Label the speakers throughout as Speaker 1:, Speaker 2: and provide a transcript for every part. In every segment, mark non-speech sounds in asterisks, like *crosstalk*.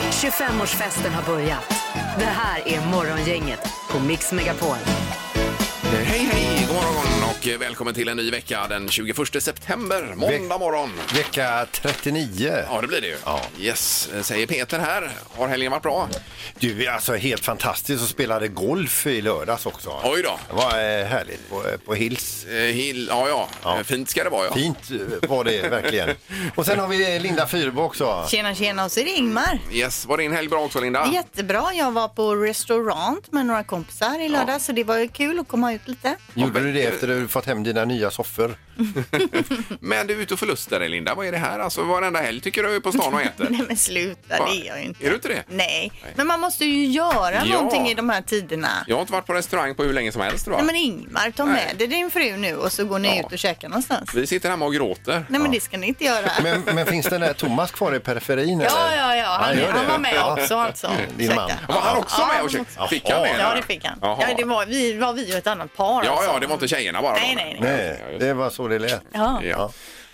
Speaker 1: 25-årsfesten har börjat. Det här är Morgongänget på Mix Megapol.
Speaker 2: Hej, hej, god morgon och välkommen till en ny vecka den 21 september, måndag morgon.
Speaker 3: Vecka 39.
Speaker 2: Ja, det blir det ju.
Speaker 3: Ja.
Speaker 2: Yes, säger Peter här. Har helgen varit bra?
Speaker 3: Du, är alltså helt fantastiskt och spelade golf i lördags också.
Speaker 2: Oj då.
Speaker 3: Det var eh, härligt på, eh, på Hills.
Speaker 2: Eh, Hill, ja, ja,
Speaker 3: Ja.
Speaker 2: Eh, Fint ska det vara, ja.
Speaker 3: Fint eh, var det
Speaker 2: *laughs*
Speaker 3: verkligen. Och sen har vi eh, Linda Fyrbo också.
Speaker 4: Tjena, tjena. Och så är det Ingmar.
Speaker 2: Yes, var din helg bra också, Linda?
Speaker 4: Jättebra. Jag var på restaurang med några kompisar i lördags så det var ju kul att komma ut lite.
Speaker 3: Gjorde du det efter att du fått hem dina nya soffor?
Speaker 2: Men du är ute och förlustar dig, Linda. Vad är det här? Alltså, varenda helg tycker du är på stan och äter.
Speaker 5: *laughs*
Speaker 4: Nej men sluta, det är jag ju inte.
Speaker 2: Är du inte det?
Speaker 4: Nej, men man måste ju göra
Speaker 2: Ja.
Speaker 4: någonting i de här tiderna.
Speaker 2: Jag har inte varit på restaurang på hur länge som helst, va?
Speaker 4: Nej men Ingmar, ta med dig din fru nu och så går ni
Speaker 2: Ja.
Speaker 4: ut och käkar någonstans.
Speaker 2: Vi sitter hemma och gråter.
Speaker 4: Nej men det ska ni inte göra.
Speaker 3: Men, men finns den där Thomas kvar i periferin?
Speaker 5: Ja,
Speaker 3: eller?
Speaker 5: ja, ja. Han,
Speaker 3: gör
Speaker 5: han
Speaker 3: det.
Speaker 5: var med
Speaker 3: Ja.
Speaker 5: också alltså.
Speaker 3: Din man.
Speaker 5: Ursäkta.
Speaker 2: Var han också
Speaker 5: Ja,
Speaker 2: med
Speaker 5: han
Speaker 2: och
Speaker 5: också.
Speaker 2: käkte? Fick han
Speaker 3: Jaha.
Speaker 2: det?
Speaker 5: Ja, det fick han.
Speaker 2: Jaha.
Speaker 5: Ja, det var vi, var vi och ett annat par
Speaker 2: Ja,
Speaker 5: alltså.
Speaker 2: ja, det var inte tjejerna bara.
Speaker 5: Nej,
Speaker 2: då.
Speaker 5: nej, nej.
Speaker 3: Nej, det var så det lät.
Speaker 5: Ja.
Speaker 2: Ja.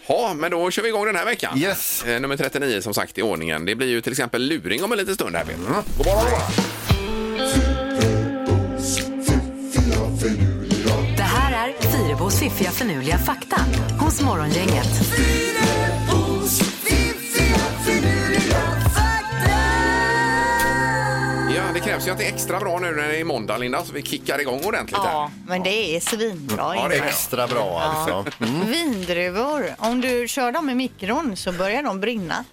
Speaker 2: ja, men då kör vi igång den här veckan.
Speaker 3: Yes.
Speaker 2: Eh, Nummer 39 som sagt i ordningen. Det blir ju till exempel luring om en liten stund här Peter. God morgon, god morgon.
Speaker 1: Det här är Fyrebos fiffiga förnuliga fakta hos Morgongänget.
Speaker 2: Ja, det krävs ju att det är extra bra nu när det är måndag Linda, så vi kickar igång ordentligt
Speaker 4: Ja, men det är svinbra
Speaker 2: Ja, det är
Speaker 4: Ingmar.
Speaker 3: Extra bra alltså. Mm.
Speaker 4: Vindruvor, om du kör dem i mikron så börjar de brinna.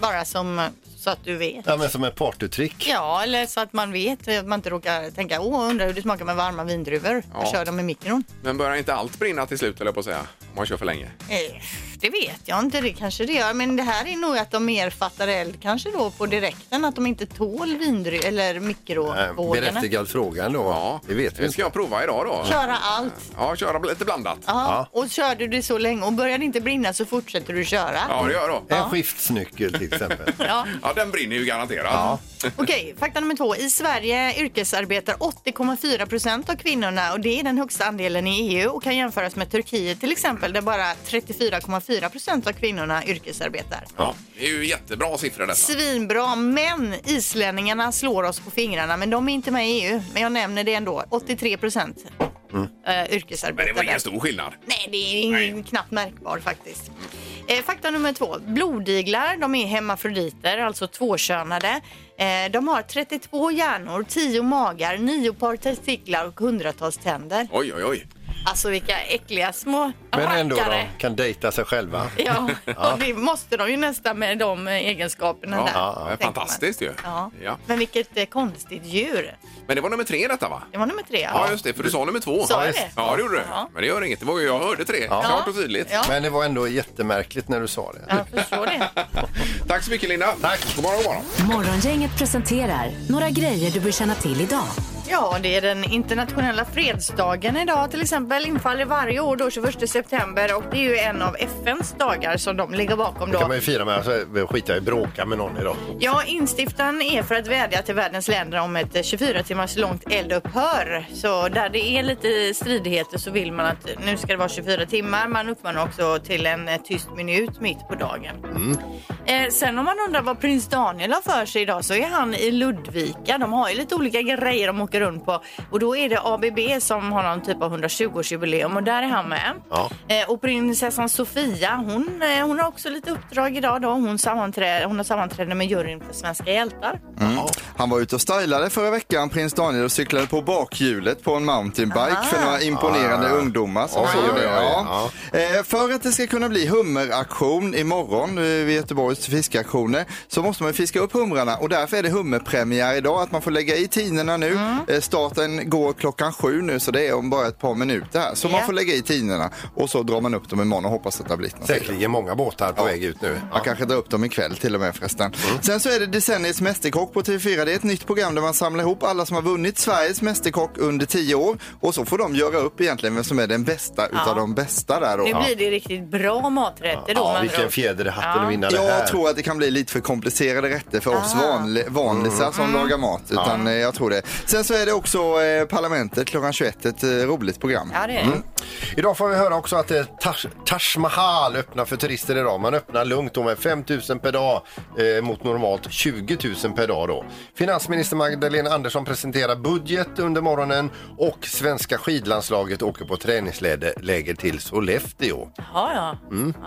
Speaker 4: Bara som eh, så att du vet.
Speaker 3: Ja, men som ett partytrick.
Speaker 4: Ja, eller så att man vet, att man inte råkar tänka åh, undrar hur det smakar med varma vindruvor.
Speaker 2: Ja.
Speaker 4: Jag kör dem i mikron.
Speaker 2: här. Men börjar inte allt brinna till slut, eller på att säga, om man kör för länge?
Speaker 4: Eh, det vet jag inte, det kanske det gör. Men det här är nog att de mer fattar eld kanske då på direkten, att de inte tål vindruvor eller
Speaker 3: Eh,
Speaker 4: mikrovågorna.
Speaker 3: Berättigad fråga ändå.
Speaker 2: Ja,
Speaker 3: Det vet vi
Speaker 2: Det ska
Speaker 3: inte.
Speaker 2: jag prova idag då.
Speaker 4: Köra allt.
Speaker 2: Ja, köra lite blandat.
Speaker 4: Ja. Och kör du det så länge och börjar det inte brinna så fortsätter du köra.
Speaker 2: Ja, det gör jag då.
Speaker 3: En skiftnyckel till exempel.
Speaker 4: Ja.
Speaker 2: Ja, den brinner ju garanterat. Ja.
Speaker 4: Okej, fakta nummer två. I Sverige yrkesarbetar 80,4 procent av kvinnorna och det är den högsta andelen i EU och kan jämföras med Turkiet till exempel där bara 34,4 procent av kvinnorna yrkesarbetar.
Speaker 2: Det är ju jättebra siffror detta.
Speaker 4: Svinbra, men islänningarna slår oss på fingrarna men de är inte med i EU. Men jag nämner det ändå. 83 procent eh,
Speaker 2: Mm. Men det var
Speaker 4: yrkesarbetar.
Speaker 2: ingen stor skillnad.
Speaker 4: Nej, det är ingen, knappt märkbar faktiskt. Eh, fakta nummer två. Blodiglar, de är hemmafroditer, alltså tvåkönade. Eh, de har 32 hjärnor, 10 magar, 9 par testiklar och hundratals tänder.
Speaker 2: Oj, oj, oj.
Speaker 5: Alltså vilka äckliga små
Speaker 3: Men ändå, de
Speaker 5: rackare.
Speaker 3: kan dejta sig själva.
Speaker 5: Ja,
Speaker 4: *laughs*
Speaker 5: och det måste de ju nästan med de eh, egenskaperna
Speaker 2: Ja,
Speaker 5: där.
Speaker 3: ja,
Speaker 2: men
Speaker 4: tänker man.
Speaker 2: fantastiskt ju.
Speaker 4: Ja.
Speaker 2: Ja.
Speaker 4: Men vilket eh, konstigt djur.
Speaker 2: Men det var nummer tre detta va?
Speaker 4: Det var nummer tre. alltså.
Speaker 2: Ja, just det, för du sa nummer två.
Speaker 5: Sa jag
Speaker 2: ja,
Speaker 5: det?
Speaker 2: ja, det gjorde du.
Speaker 5: Ja.
Speaker 2: Men det gör inget. Det var ju, jag hörde tre, klart och tydligt.
Speaker 4: Ja.
Speaker 3: Men det var ändå jättemärkligt när du sa det.
Speaker 4: Jag förstår det.
Speaker 2: *laughs* Tack så mycket, Linda. Tack. God morgon, god morgon.
Speaker 1: Morgongänget presenterar några grejer du bör känna till idag.
Speaker 4: Ja, det är den internationella fredsdagen idag till exempel. Infaller varje år då 21 september och det är ju en av FNs dagar som de ligger bakom
Speaker 3: Det
Speaker 4: då.
Speaker 3: kan man ju fira med. Alltså, vi skitar i att bråka med någon idag.
Speaker 4: Ja, instiftaren är för att vädja till världens länder om ett 24 timmars långt eldupphör. Så där det är lite stridigheter så vill man att nu ska det vara 24 timmar. Man uppmanar också till en eh, tyst minut mitt på dagen. Eh, sen om man undrar vad prins Daniel har för sig idag så är han i Ludvika. De har ju lite olika grejer de åker runt på och då är det ABB som har någon typ av 120-årsjubileum och där är han med.
Speaker 3: Ja.
Speaker 4: Eh, och prinsessan Sofia hon, eh, hon har också lite uppdrag idag då. Hon, sammanträ- hon har sammanträde med juryn för Svenska hjältar.
Speaker 6: Han var ute och stylade förra veckan, prins Daniel, och cyklade på bakhjulet på en mountainbike för några imponerande ungdomar. Som
Speaker 3: Ah. Oj,
Speaker 6: såg
Speaker 3: oj,
Speaker 6: det.
Speaker 3: oj.
Speaker 6: Ja. Eh, För att det ska kunna bli hummeraktion imorgon eh, vid Göteborgs fiskaktioner så måste man ju fiska upp humrarna och därför är det hummerpremiär idag. Att man får lägga i tinerna nu.
Speaker 3: Mm.
Speaker 6: Eh, Starten går klockan sju nu så det är om bara ett par minuter här. Så man
Speaker 4: Ja.
Speaker 6: får lägga i tinerna och så drar man upp dem imorgon och hoppas att det har blivit något.
Speaker 3: Säkerligen många båtar på väg ut nu.
Speaker 6: Man kanske drar upp dem ikväll till och med förresten.
Speaker 3: Mm.
Speaker 6: Sen så är det Decenniets Mästerkock på TV4. Det är ett nytt program där man samlar ihop alla som har vunnit Sveriges Mästerkock under tio år. Och så får de göra upp egentligen vem som är den bästa utav de bästa där då.
Speaker 4: Nu blir det riktigt bra maträtter
Speaker 3: Ja,
Speaker 4: då. med andra
Speaker 3: vilken
Speaker 4: ord.
Speaker 3: fjäder i hatten att vinna det här.
Speaker 6: Jag tror att det kan bli lite för komplicerade rätter för
Speaker 4: Ah.
Speaker 6: oss vanli- vanlisar som
Speaker 4: Mm.
Speaker 6: lagar mat. Utan eh, jag tror det. Sen så är det också eh, Parlamentet klockan 21, ett eh, roligt program.
Speaker 3: Mm.
Speaker 4: Ja, det är det.
Speaker 3: Idag får vi höra också att eh, Taj, Taj Mahal öppnar för turister idag. Man öppnar lugnt då med 5 000 per dag eh, mot normalt 20 000 per dag då. Finansminister Magdalena Andersson presenterar budget under morgonen och svenska skidlandslaget åker på träningsläger till Sollefteå.
Speaker 4: Ja, ja.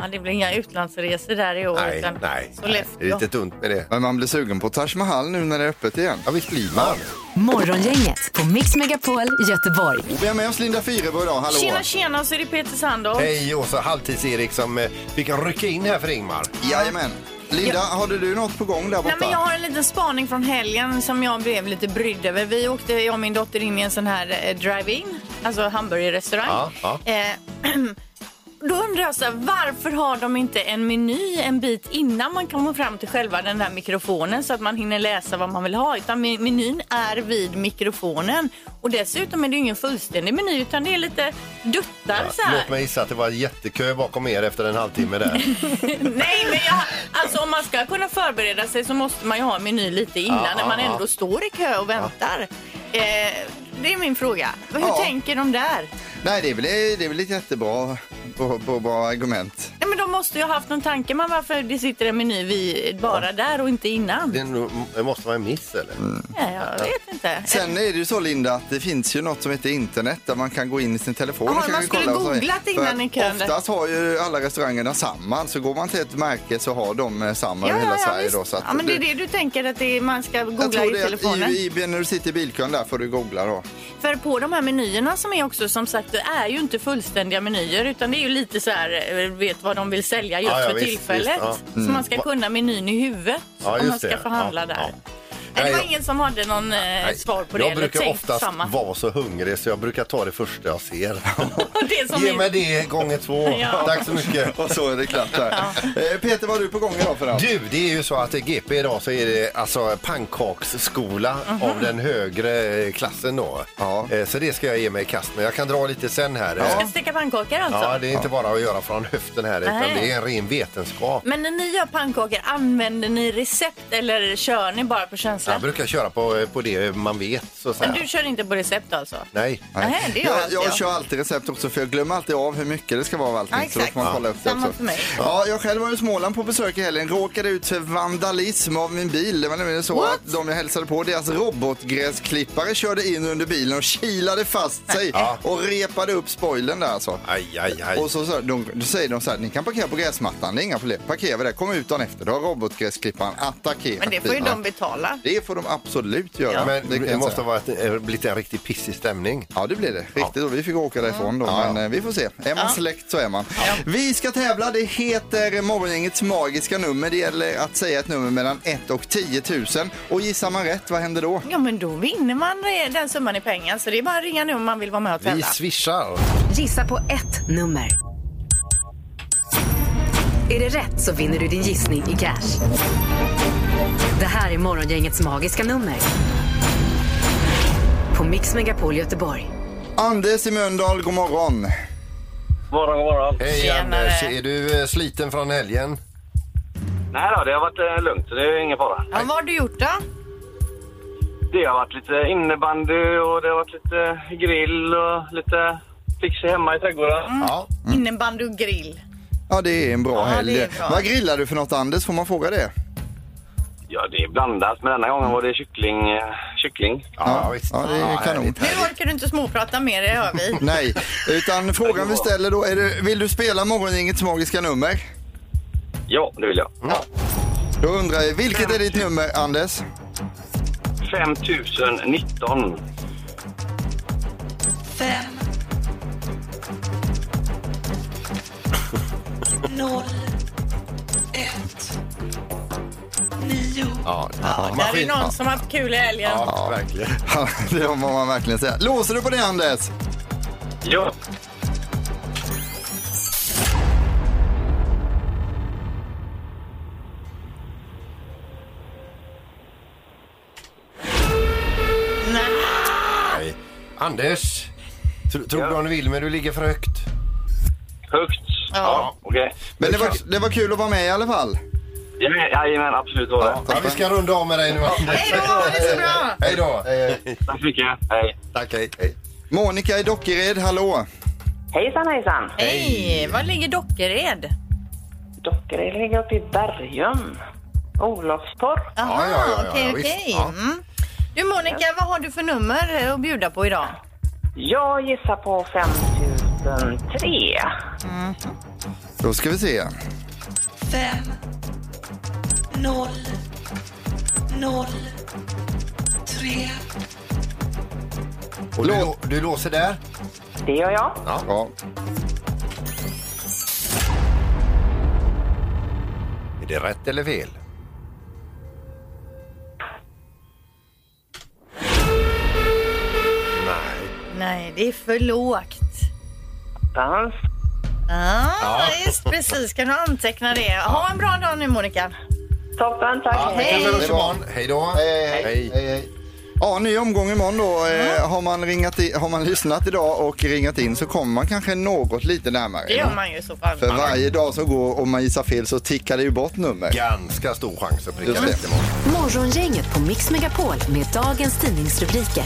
Speaker 4: ja. Det blir inga utlandsresor där i år.
Speaker 3: Mm. Nej,
Speaker 4: utan
Speaker 3: nej, det är
Speaker 4: Sollefteå.
Speaker 3: lite tunt med det.
Speaker 6: Men man blir sugen på Taj Mahal nu när det är öppet igen.
Speaker 3: Ja, visst blir man.
Speaker 1: Morgongänget på Mix Megapol Göteborg.
Speaker 6: Vi har med oss Linda Fyrebo idag, hallå!
Speaker 4: Tjena, tjena, så är det Peter Sandahl.
Speaker 3: Hej och så halvtids-Erik som eh, fick rycka in här för Ingmar.
Speaker 6: Jajamän! Linda, hade du något på gång där borta?
Speaker 4: Nej, men jag har en liten spaning från helgen som jag blev lite brydd över. Vi åkte, jag och min dotter, in i en sån här eh, drive-in, alltså hamburgerrestaurang.
Speaker 3: Ja, ja.
Speaker 4: Eh, *clears throat* då undrar jag så här, varför har de inte en meny en bit innan man kommer fram till själva den där mikrofonen så att man hinner läsa vad man vill ha. Utan me- menyn är vid mikrofonen. Och dessutom är det ju ingen fullständig meny utan det är lite duttar så här.
Speaker 3: Låt mig gissa att det var jättekö bakom er efter en halvtimme där.
Speaker 4: Nej, men jag, alltså om man ska kunna förbereda sig så måste man ju ha en meny lite innan
Speaker 3: Ja,
Speaker 4: när man
Speaker 3: ja, ja.
Speaker 4: ändå står i kö och väntar. Eh, det är min fråga. Hur
Speaker 6: Ja.
Speaker 4: tänker de där?
Speaker 6: Nej, det är väl, det är väl ett jättebra bra, bra, bra argument.
Speaker 4: Nej, men de måste ju ha haft någon tanke med varför det sitter en meny vid, bara där och inte innan.
Speaker 3: Det är nog- det måste vara en miss eller?
Speaker 4: Nej, jag vet inte.
Speaker 6: Sen är det ju så Linda att det finns ju något som heter internet där man kan gå in i sin telefon
Speaker 4: Ja,
Speaker 6: och kanske
Speaker 4: man skulle
Speaker 6: kolla vad som är.
Speaker 4: googlat innan
Speaker 6: För
Speaker 4: i kön där.
Speaker 6: Oftast har ju alla restaurangerna samma. Så går man till ett märke så har de eh, samma över hela Sverige
Speaker 4: visst.
Speaker 6: då. Så att
Speaker 4: ja, men det är
Speaker 6: du-
Speaker 4: det du tänker att det är, man ska
Speaker 6: jag
Speaker 4: googla
Speaker 6: tror
Speaker 4: i
Speaker 6: det
Speaker 4: telefonen?
Speaker 6: att i, i, när du sitter i bilkön där får du googla då.
Speaker 4: För på de här menyerna som är också som sagt det är ju inte fullständiga menyer utan det är ju lite så här eh, vet vad de vill sälja just
Speaker 3: Ja, ja,
Speaker 4: för
Speaker 3: visst,
Speaker 4: tillfället.
Speaker 3: visst, ja. Mm.
Speaker 4: Så man ska kunna menyn i huvudet
Speaker 3: Ja,
Speaker 4: om
Speaker 3: just
Speaker 4: man ska
Speaker 3: det.
Speaker 4: förhandla
Speaker 3: Ja,
Speaker 4: där.
Speaker 3: ja.
Speaker 4: Nej, det
Speaker 3: Nej,
Speaker 4: var
Speaker 3: jag-
Speaker 4: ingen som hade någon eh, svar på det.
Speaker 3: jag
Speaker 4: eller
Speaker 3: brukar
Speaker 4: tänkt
Speaker 3: oftast
Speaker 4: samma.
Speaker 3: vara så hungrig så jag brukar ta det första jag ser.
Speaker 4: *laughs* Det *laughs* som
Speaker 3: Ge
Speaker 4: är-
Speaker 3: mig det gånger två.
Speaker 4: *laughs* Ja.
Speaker 3: Tack så mycket.
Speaker 6: Och så är det klart där. Eh, Peter, vad har du på gång idag för allt?
Speaker 3: Du, det är ju så att i GP idag så är det alltså pannkaksskola
Speaker 4: Mhm.
Speaker 3: av den högre eh, klassen då.
Speaker 6: Ja.
Speaker 3: Eh, Så det ska jag ge mig i kast med. Jag kan dra lite sen här.
Speaker 4: Du
Speaker 3: Eh,
Speaker 4: ska steka pannkakor alltså?
Speaker 3: Ja, det är inte bara att göra från höften här utan
Speaker 4: Nej.
Speaker 3: det är en ren vetenskap.
Speaker 4: Men när ni gör pannkakor, använder ni recept eller kör ni bara på känsla?
Speaker 3: Jag brukar köra på, eh, på det man vet så att
Speaker 4: Men
Speaker 3: säga.
Speaker 4: du kör inte på recept alltså?
Speaker 3: Nej.
Speaker 4: Nej, det gör
Speaker 6: jag,
Speaker 4: alltid
Speaker 6: jag
Speaker 4: jag.
Speaker 6: kör alltid recept också för jag glömmer alltid av hur mycket det ska vara av allting.
Speaker 4: Ja,
Speaker 6: så då får man
Speaker 4: exakt.
Speaker 6: kolla upp det
Speaker 4: Samma
Speaker 6: också.
Speaker 4: för mig.
Speaker 6: Ja, jag själv var i Småland på besök i helgen. Råkade ut för vandalism av min bil. Det var nämligen så
Speaker 4: What?
Speaker 6: att de jag hälsade på, deras robotgräsklippare körde in under bilen och kilade fast sig
Speaker 3: Ja.
Speaker 6: och repade upp spoilern där alltså.
Speaker 3: Aj, aj, aj.
Speaker 6: Och så, så de, då säger de så här, ni kan parkera på gräsmattan, det är inga problem. Parkera där, kom ut dagen efter, då har robotgräsklipparen attackerat
Speaker 4: Men det får ju
Speaker 6: bilen.
Speaker 4: de betala.
Speaker 6: Det får de absolut göra.
Speaker 3: Men det,
Speaker 6: kan jag
Speaker 3: måste
Speaker 6: säga.
Speaker 3: ha varit, eh, blivit en riktigt pissig stämning.
Speaker 6: Ja, det blir det. Riktigt då. Vi fick åka därifrån då, men eh, vi får se. Är man släkt så är man. Vi ska tävla. Det heter Morgongängets magiska nummer. Det gäller att säga ett nummer mellan 1 och 10 000. Och gissar man rätt, vad händer då?
Speaker 4: Ja, men då vinner man eh, den summan i pengar. Så det är bara att ringa nu om man vill vara med och
Speaker 3: Vi
Speaker 4: tävla.
Speaker 3: swishar.
Speaker 1: Gissa på ett nummer. Är det rätt så vinner du din gissning i cash. Det här är Morgongängets magiska nummer. På Mix Megapol Göteborg.
Speaker 6: Anders i Mölndal, god morgon.
Speaker 7: Morgon, morgon.
Speaker 3: Hej
Speaker 4: Tjenare.
Speaker 3: Anders, är du eh, sliten från helgen?
Speaker 7: Nej då, det har varit eh, lugnt så det är ingen fara.
Speaker 4: Ja, vad har du gjort då?
Speaker 7: Det har varit lite innebandy och det har varit lite grill och lite fix hemma i trädgården.
Speaker 3: Ja.
Speaker 4: Innebandy och grill.
Speaker 6: Ja, det är en bra
Speaker 4: Ja, det är
Speaker 6: helg.
Speaker 4: bra.
Speaker 6: Vad grillar du för något, Anders? Får man fråga det?
Speaker 7: Ja, det är blandat men denna gången var det kyckling. eh, kyckling.
Speaker 3: Ja, visst.
Speaker 6: Ja, det är kanon.
Speaker 3: härligt.
Speaker 4: Nu orkar du inte småprata mer, det
Speaker 3: *laughs*
Speaker 4: hör vi.
Speaker 6: Nej, utan frågan vi ställer då är du, vill du spela Morgongängets magiska nummer?
Speaker 7: Ja, det vill jag.
Speaker 6: Då undrar jag, vilket är ditt nummer, Anders?
Speaker 7: 5019.
Speaker 3: Ja,
Speaker 4: Där är någon som har haft kul i helgen.
Speaker 3: ja, verkligen.
Speaker 6: Ja, *laughs* det må man verkligen säga. Låser du på det, Anders?
Speaker 7: Ja.
Speaker 3: Nej. Anders, tro, tror
Speaker 7: Ja.
Speaker 3: du om du vill men du ligger för högt.
Speaker 7: Högt. Ja. Okej.
Speaker 6: Men det var, det var kul att vara med i alla fall.
Speaker 7: Ja, Jajamän, absolut var det.
Speaker 3: Ja, vi ska runda av med dig nu Anders.
Speaker 4: Hej då, ha det så bra!
Speaker 3: Hej då.
Speaker 7: Tack så mycket. Hej.
Speaker 3: Tack, hej. hej.
Speaker 6: Monica i Dockered, hallå!
Speaker 8: Hejsan, hejsan.
Speaker 4: Hej! Var ligger Dockered?
Speaker 8: Dockered ligger uppe i Bergum. Olofstorp.
Speaker 3: Ja, ja, ja, ja,
Speaker 4: okej,
Speaker 3: visst.
Speaker 4: okej.
Speaker 3: Ja.
Speaker 4: Mm. Du Monica, vad har du för nummer eh, att bjuda på idag?
Speaker 8: Jag gissar på 5003.
Speaker 6: Då ska vi se.
Speaker 9: fem, noll, noll, tre.
Speaker 3: Och du, lå- du låser där?
Speaker 8: Det gör jag.
Speaker 6: Ja.
Speaker 3: Är det rätt eller fel? Nej.
Speaker 4: Nej, det är för lågt.
Speaker 8: Dans.
Speaker 4: Ah, Just precis, kan du anteckna det? Ha en bra dag nu Monica.
Speaker 8: Toppen, tack.
Speaker 3: Vi hörs
Speaker 6: Det var-
Speaker 3: imorgon. Hej då.
Speaker 6: Hej, hej, hej, hej. Ja, ny omgång imorgon då.
Speaker 9: Mm.
Speaker 6: Eh, har, man ringat i, har man lyssnat idag och ringat in så kommer man kanske något lite närmare.
Speaker 5: Det gör man ju i så fall.
Speaker 6: För varje dag som går och man gissar fel så tickar det ju bort nummer.
Speaker 3: Ganska stor chans att pricka
Speaker 6: Just det.
Speaker 3: rätt imorgon.
Speaker 1: Morgongänget på Mix Megapol med dagens tidningsrubriker.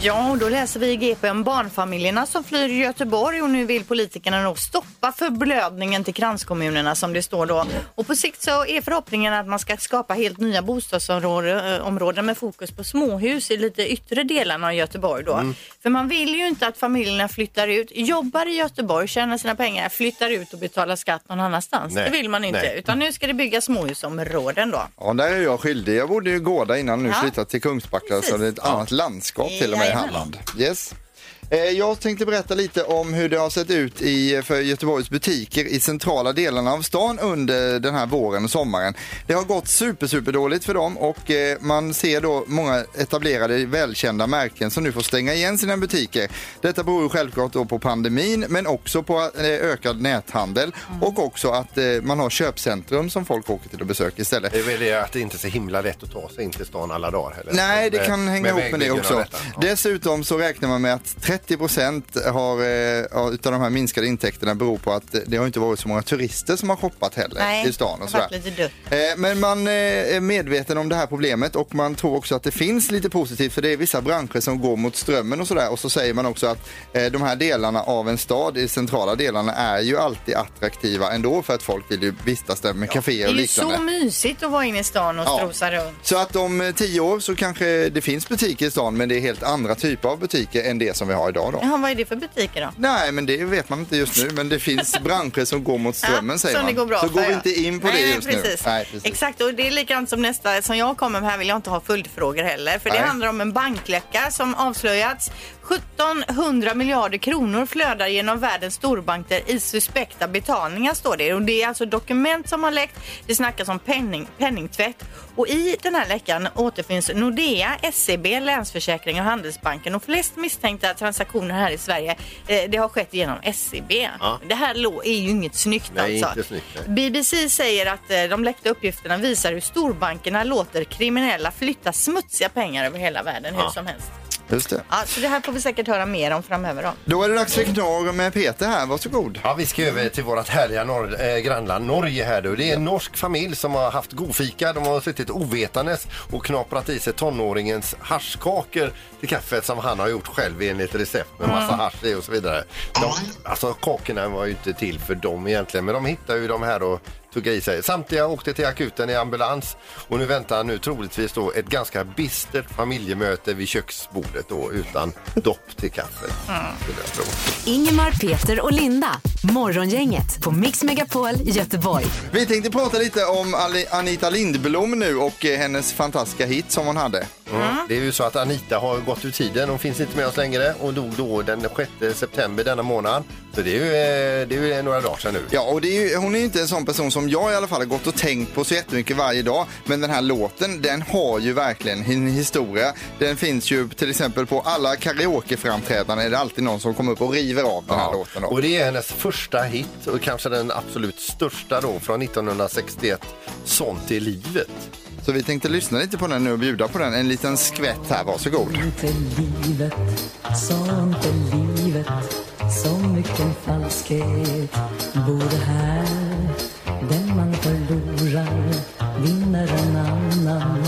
Speaker 4: Ja, och då läser vi i GP om barnfamiljerna som flyr Göteborg och nu vill politikerna nog stoppa förblödningen till kranskommunerna som det står då. Och på sikt så är förhoppningen att man ska skapa helt nya bostadsområden eh, områden med fokus på småhus i lite yttre delarna av Göteborg då.
Speaker 6: Mm.
Speaker 4: För man vill ju inte att familjerna flyttar ut, jobbar i Göteborg, tjänar sina pengar, flyttar ut och betalar skatt någon annanstans.
Speaker 3: Nej,
Speaker 4: Det vill man inte.
Speaker 3: nej.
Speaker 4: Utan nu ska det byggas småhusområden då.
Speaker 6: Ja, där är jag skyldig. Jag bodde ju i Gårda innan nu
Speaker 4: Ja.
Speaker 6: flyttat till Kungsbacka så
Speaker 4: Precis.
Speaker 6: det är ett annat landskap till och med i
Speaker 4: Jajamän.
Speaker 6: Halland. Yes. Eh, Jag tänkte berätta lite om hur det har sett ut i, för Göteborgs butiker i centrala delarna av stan under den här våren och sommaren. Det har gått super, super dåligt för dem och eh, man ser då många etablerade välkända märken som nu får stänga igen sina butiker. Detta beror ju självklart då på pandemin men också på eh, ökad näthandel
Speaker 4: Mm.
Speaker 6: och också att eh, man har köpcentrum som folk åker till och besöker istället.
Speaker 3: Det är väl det att det inte är så himla lätt att ta sig in till stan alla dagar heller.
Speaker 6: Nej, det kan hänga ihop med det
Speaker 3: vägbyggen och
Speaker 6: också.
Speaker 3: detta.
Speaker 6: Dessutom så räknar man med att 30 procent eh, av de här minskade intäkterna beror på att det har inte varit så många turister som har shoppat heller
Speaker 4: Nej,
Speaker 6: i stan. Och
Speaker 4: det har varit
Speaker 6: sådär.
Speaker 4: lite dött.
Speaker 6: Eh, Men man eh, är medveten om det här problemet och man tror också att det finns lite positivt för det är vissa branscher som går mot strömmen och sådär. Och så säger man också att eh, de här delarna av en stad, de centrala delarna, är ju alltid attraktiva ändå för att folk vill ju vistas där med
Speaker 4: Det
Speaker 6: kaféer
Speaker 4: är
Speaker 6: och
Speaker 4: ju
Speaker 6: liknande.
Speaker 4: så mysigt att vara inne i stan och
Speaker 6: Ja.
Speaker 4: strosa runt.
Speaker 6: Så att om eh, tio år så kanske det finns butiker i stan men det är helt andra typer av butiker än det som vi har idag då.
Speaker 4: Jaha, vad är det för butiker då?
Speaker 6: Nej, men det vet man inte just nu. Men det
Speaker 4: *laughs*
Speaker 6: finns branscher som går mot strömmen
Speaker 4: Ja,
Speaker 6: säger
Speaker 4: som
Speaker 6: man.
Speaker 4: Det går bra
Speaker 6: så
Speaker 4: för,
Speaker 6: går vi
Speaker 4: ja.
Speaker 6: inte in på
Speaker 4: Nej,
Speaker 6: det just
Speaker 4: precis.
Speaker 6: nu. Nej, precis.
Speaker 4: Exakt, och det är likadant som nästa som jag kommer med här vill jag inte ha följdfrågor heller. För
Speaker 6: Nej.
Speaker 4: det handlar om en bankläcka som avslöjats. 1700 miljarder kronor flödar genom världens storbanker i suspekta betalningar står det. Och det är alltså dokument som har läckt. Det snackas om penning, penningtvätt. Och i den här läckan återfinns Nordea, SEB, Länsförsäkringen och Handelsbanken. Och flest misstänkta transaktioner här i Sverige eh, det har skett genom SEB. Det här lå- är ju inget snyggt
Speaker 3: Nej,
Speaker 4: alltså.
Speaker 3: inte snyggt, nej.
Speaker 4: BBC säger att eh, de läckta uppgifterna visar hur storbankerna låter kriminella flytta smutsiga pengar över hela världen hur som helst.
Speaker 6: Just det.
Speaker 4: Ja, så det här får vi säkert höra mer om framöver
Speaker 3: Mm.
Speaker 4: då.
Speaker 6: Då är det dags för knorr med Peter här. Varsågod.
Speaker 3: Ja, vi ska över till vårt härliga norr, eh, grannland Norge här nu. Det är en norsk familj som har haft godfika. De har suttit ovetandes och knaprat i sig tonåringens haschkakor till kaffet som han har gjort själv enligt recept med massa hasch i och så vidare. De, alltså kakorna var ju inte till för dem egentligen men de hittade ju de här och tog i sig. Samtliga åkte till akuten i ambulans och nu väntar nu troligtvis då ett ganska bistert familjemöte vid köksbordet då utan dopp till kaffet. skulle jag tro.
Speaker 1: Ingemar, Peter och Linda. Morgongänget på Mix Megapol Göteborg.
Speaker 6: Vi tänkte prata lite om Ali- Anita Lindblom nu och eh, hennes fantastiska hit som hon hade.
Speaker 3: Mm. Det är ju så att Anita har gått ur tiden. Hon finns inte med oss längre och dog då den 6 september denna månad. Så det är ju, eh, det är ju några dagar sedan nu.
Speaker 6: Ja, och det är ju, hon är ju inte en sån person som jag i alla fall har gått och tänkt på så jättemycket varje dag. Men den här låten, den har ju verkligen en historia. Den finns ju till exempel på alla karaokeframträdanden är det alltid någon som kommer upp och river av den här
Speaker 3: Ja.
Speaker 6: låten. Då.
Speaker 3: Och det är hennes första hit och kanske den absolut största då från 1961. Sånt i livet.
Speaker 6: Så vi tänkte lyssna lite på den nu och bjuda på den. En liten skvätt här, varsågod.
Speaker 10: Sånt är livet, sånt är livet Så mycket falskhet bor här Den man förlorar vinner en annan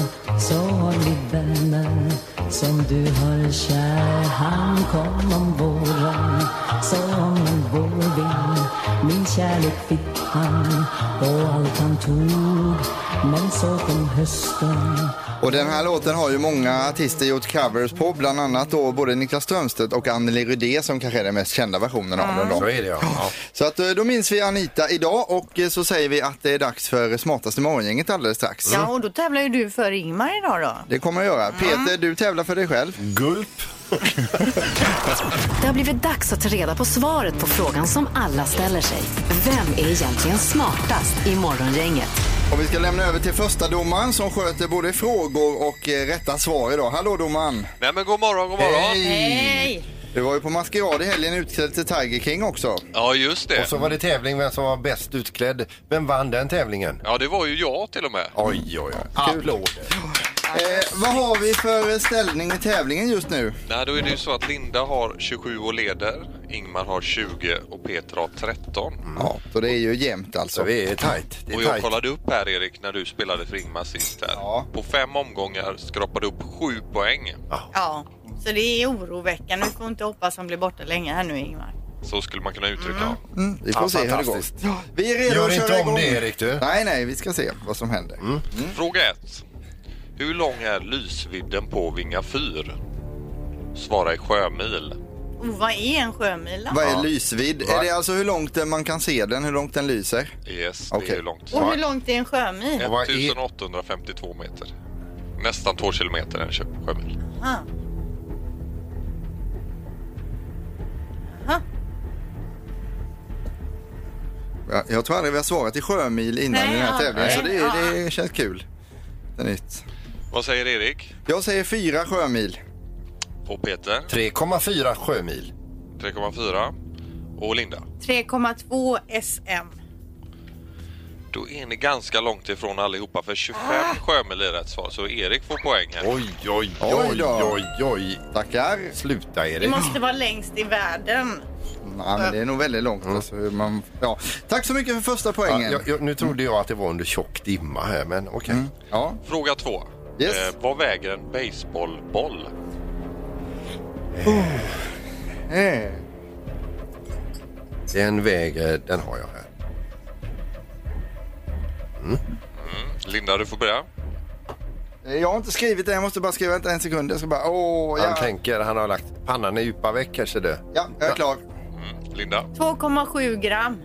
Speaker 10: Så har vi vännen som du har kär Han kom om våren som en vårvind Min kärlek fick han och allt han tog Men så kom hösten
Speaker 6: Och den här låten har ju många artister gjort covers på, bland annat då både Niklas Strömstedt och Anneli Rydé som kanske är den mest kända versionen av den. Då.
Speaker 3: Så är det ja. ja.
Speaker 6: Så att eh, då minns vi Anita idag och eh, så säger vi att det är dags för smartaste morgongänget alldeles strax.
Speaker 4: Ja, och då tävlar ju du för Ingmar idag då.
Speaker 6: Det kommer jag göra. Peter, du tävlar för dig
Speaker 3: Mm.
Speaker 6: själv.
Speaker 3: Gulp.
Speaker 1: Det har blivit dags att ta reda på svaret på frågan som alla ställer sig. Vem är egentligen smartast i Morgongänget?
Speaker 6: Och vi ska lämna över till första domaren som sköter både frågor och eh, rätta svar idag. Hallå domaren!
Speaker 7: Nej men god morgon, god morgon.
Speaker 6: Hej! Du var ju på maskerad i helgen utklädd till Tiger King också.
Speaker 7: Ja just det.
Speaker 3: Och så var det tävling vem som var bäst utklädd. Vem vann den tävlingen?
Speaker 7: Ja det var ju jag till och med.
Speaker 3: Oj, oj, oj. Applåder.
Speaker 6: Eh, vad har vi för eh, ställning i tävlingen just nu?
Speaker 7: Nej då är det ju så att Linda har 27 och leder, Ingmar har 20 och Peter har 13.
Speaker 6: Ja, så det är ju jämnt alltså.
Speaker 3: Så vi är tajt. Det
Speaker 7: Och
Speaker 3: är
Speaker 7: jag
Speaker 3: tajt.
Speaker 7: kollade upp här Erik när du spelade för Ingmar sist här.
Speaker 6: Ja.
Speaker 7: På fem omgångar skrapade du upp sju poäng.
Speaker 4: Ja, så det är oroväckande. Vi får inte hoppas han blir borta länge här nu Ingmar.
Speaker 7: Så skulle man kunna uttrycka det.
Speaker 6: Mm, vi får
Speaker 3: Ja,
Speaker 6: se hur det går.
Speaker 3: fantastiskt.
Speaker 6: Vi är redo
Speaker 3: Gör
Speaker 6: att
Speaker 3: inte
Speaker 6: köra
Speaker 3: om
Speaker 6: igång.
Speaker 3: det, Erik, du. Mm.
Speaker 6: Nej, nej, vi ska se vad som händer.
Speaker 7: Fråga 1. Hur lång är lysvidden på Vinga fyr? Svara i sjömil.
Speaker 4: Oh, vad är en sjömil då?
Speaker 6: Vad är lysvidd? Är det alltså hur långt eh, man kan se den, hur långt den lyser?
Speaker 7: Yes, det
Speaker 6: Okej.
Speaker 7: är ju långt.
Speaker 4: Och hur långt är en sjömil?
Speaker 3: Ja. vad är-
Speaker 7: 1852 meter. Nästan 2 kilometer är en kö- sjömil.
Speaker 4: Aha.
Speaker 6: Jag, jag tror aldrig vi har svarat i sjömil innan
Speaker 4: Nej,
Speaker 6: i den här
Speaker 4: ja,
Speaker 6: tävlingen,
Speaker 4: nej.
Speaker 6: så det, är- det känns kul. Det är nytt.
Speaker 7: Vad säger Erik?
Speaker 6: Jag säger fyra sjömil.
Speaker 7: Och Peter?
Speaker 3: 3,4 sjömil.
Speaker 7: 3,4. Och Linda?
Speaker 4: 3,2 SM.
Speaker 7: Då är ni ganska långt ifrån allihopa för 25
Speaker 6: Ah.
Speaker 7: sjömil är rätt svar. Så Erik får poäng här.
Speaker 3: Oj, oj,
Speaker 6: Oj
Speaker 3: oj,
Speaker 6: då.
Speaker 3: oj, oj.
Speaker 6: Tackar.
Speaker 3: Sluta,
Speaker 4: Det
Speaker 3: Erik.
Speaker 4: måste vara längst i världen.
Speaker 6: Ja, men det är nog väldigt långt. Alltså, hur man, ja. Tack så mycket för första
Speaker 3: Mm. Ja,
Speaker 6: poängen. Mm.
Speaker 3: jag, jag, nu trodde jag att det var under tjock dimma här, men okej.
Speaker 6: Ja.
Speaker 7: Fråga 2.
Speaker 6: Yes.
Speaker 7: vad väger en baseballboll?
Speaker 6: Eh.
Speaker 3: Den väger, eh, den har jag här.
Speaker 7: Linda, du får börja.
Speaker 6: Jag har inte skrivit det, jag måste bara skriva vänta en sekund. Jag ska bara, åh,
Speaker 3: Han
Speaker 6: ja,
Speaker 3: tänker, han har lagt pannan i djupa veck kanske det.
Speaker 6: ja, jag är klar.
Speaker 7: Linda?
Speaker 4: 2,7 gram.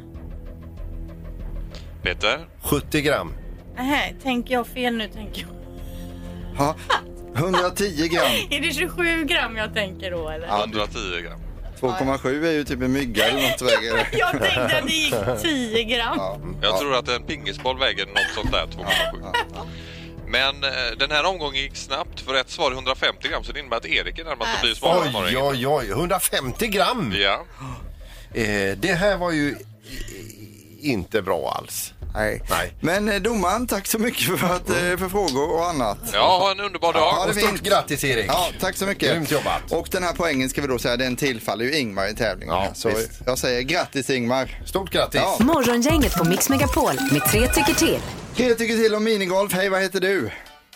Speaker 7: Peter?
Speaker 3: 70 gram.
Speaker 4: Nej, tänker jag fel nu? Tänker jag.
Speaker 6: Ja. 110
Speaker 4: *laughs*
Speaker 6: gram.
Speaker 4: Är det 27 gram jag tänker då eller?
Speaker 7: 110 gram.
Speaker 6: 2,7 är ju typ en mygga eller något väger.
Speaker 4: Jag tänkte att det gick 10 gram.
Speaker 7: Jag tror att en pingisboll väger något sånt där, 2,7. Men eh, den här omgången gick snabbt för rätt svar är 150 gram så det innebär att Erik är närmast att bli smartast.
Speaker 3: Oj, oj, oj. 150 gram!
Speaker 7: Ja.
Speaker 3: Eh, det här var ju i- i- inte bra alls.
Speaker 6: Nej.
Speaker 3: Nej. Mm.
Speaker 6: Men eh, domaren, tack så mycket för, att, eh, för frågor och annat.
Speaker 7: ja, ha en underbar dag.
Speaker 6: Ja,
Speaker 3: Och
Speaker 6: det
Speaker 3: stort
Speaker 6: fint.
Speaker 3: grattis Erik!
Speaker 6: Ja, tack så mycket.
Speaker 3: Grymt jobbat.
Speaker 6: Och den här poängen ska vi då säga, den tillfaller ju Ingmar i tävlingen.
Speaker 3: Ja,
Speaker 6: så
Speaker 3: visst.
Speaker 6: jag säger grattis Ingmar.
Speaker 3: Stort grattis!
Speaker 6: Ja.
Speaker 1: Morgongänget på Mix Megapol med tre tycker till.
Speaker 6: Tre tycker till om minigolf. Hej, vad heter du?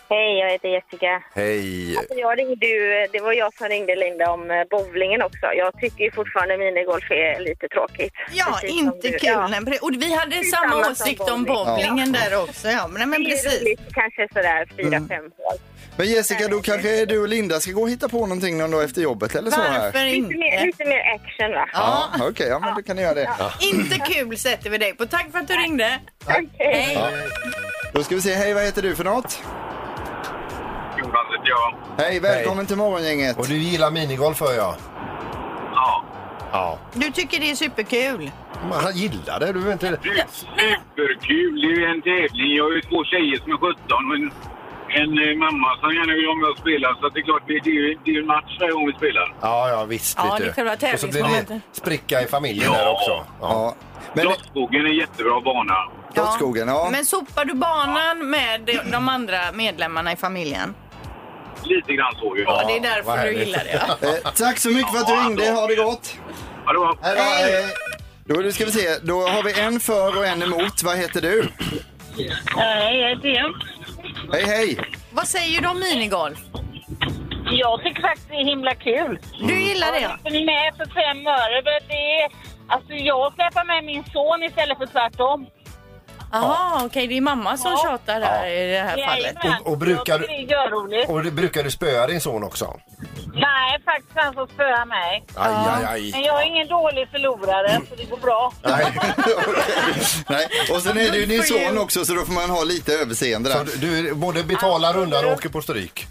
Speaker 8: Hej, jag heter Jessica.
Speaker 3: Hej!
Speaker 8: Jag ringde ju, det var jag som ringde Linda om eh, bowlingen också. Jag tycker ju fortfarande minigolf är lite tråkigt.
Speaker 4: Ja,
Speaker 8: Precis som
Speaker 4: inte
Speaker 8: du.
Speaker 4: kul.
Speaker 8: Ja.
Speaker 4: Nej, Och vi hade
Speaker 8: är samma
Speaker 4: samma
Speaker 8: som
Speaker 4: åsikt om
Speaker 8: bowling.
Speaker 4: bowlingen där också. Ja, men, men
Speaker 8: Det är
Speaker 4: precis. Mm.
Speaker 8: roligt, kanske sådär fyra, fem hål.
Speaker 6: Men Jessica, då kanske du och Linda ska gå och hitta på någonting någon dag efter jobbet eller så? Här.
Speaker 4: Varför
Speaker 8: Lite mer,
Speaker 4: inte?
Speaker 8: lite mer action va?
Speaker 6: Ja, Okej, ja men då kan ni göra det.
Speaker 4: Inte kul sätter vi dig på. Tack för att du ringde.
Speaker 8: Okej.
Speaker 3: Eh,
Speaker 6: Då ska vi se, hej vad heter du för något?
Speaker 7: Jonas heter jag.
Speaker 6: Hej, välkommen till morgongänget.
Speaker 3: Och du gillar minigolf hör jag?
Speaker 7: Ja.
Speaker 3: Ja.
Speaker 4: Du tycker det är superkul.
Speaker 3: Men han gillar det, du vet inte...
Speaker 7: Superkul! Det är ju en tävling. Jag har ju två tjejer som är 17 och en, en eh, mamma som gärna vill vara med och spela. Så att det är klart, det det är ju det är ju en match varje gång vi spelar.
Speaker 3: Ja, ja visst.
Speaker 4: Ja,
Speaker 3: vet
Speaker 4: det
Speaker 3: du.
Speaker 4: är själva
Speaker 3: Och så blir det
Speaker 4: tävlingsmomentet.
Speaker 3: spricka i familjen
Speaker 7: Ja.
Speaker 3: där också. Ja.
Speaker 6: Ja. Men,
Speaker 7: Slottsskogen är en jättebra bana.
Speaker 6: Slottsskogen, ja.
Speaker 4: Men sopar du banan med de- de andra medlemmarna i familjen?
Speaker 7: Lite grann så ju.
Speaker 4: Ja, det är
Speaker 3: vad
Speaker 4: därför du
Speaker 3: härligt.
Speaker 4: gillar det.
Speaker 6: Eh, tack så mycket för att du ringde. Ha det gott.
Speaker 7: Ja, det var...
Speaker 6: Hej då. Hej. Då nu ska vi se. Då har vi en för och en emot. Vad heter du?
Speaker 8: Hej, jag heter Jens.
Speaker 6: Hej, hej.
Speaker 4: Vad säger du om minigolf?
Speaker 11: Jag tycker faktiskt det är himla kul.
Speaker 4: Du gillar
Speaker 12: Mm.
Speaker 4: det, ja?
Speaker 11: Jag är med för fem öre. men Det är, alltså jag släpar med min son istället för tvärtom.
Speaker 5: Aha, okej, det är mamma som tjatar här i det här fallet.
Speaker 11: Jajamän.
Speaker 3: Och, och, brukar,
Speaker 11: Jag tycker det är görroligt.
Speaker 3: du- och du- brukar du spöa din son också?
Speaker 11: Nej, faktiskt han som spöar mig.
Speaker 3: Aj, aj, aj.
Speaker 11: Men jag är ingen dålig förlorare, så det går bra.
Speaker 6: Nej. Och sen är det ju din son också så då får man ha lite överseende där.
Speaker 3: Så du, du både betalar undan och åker på stryk?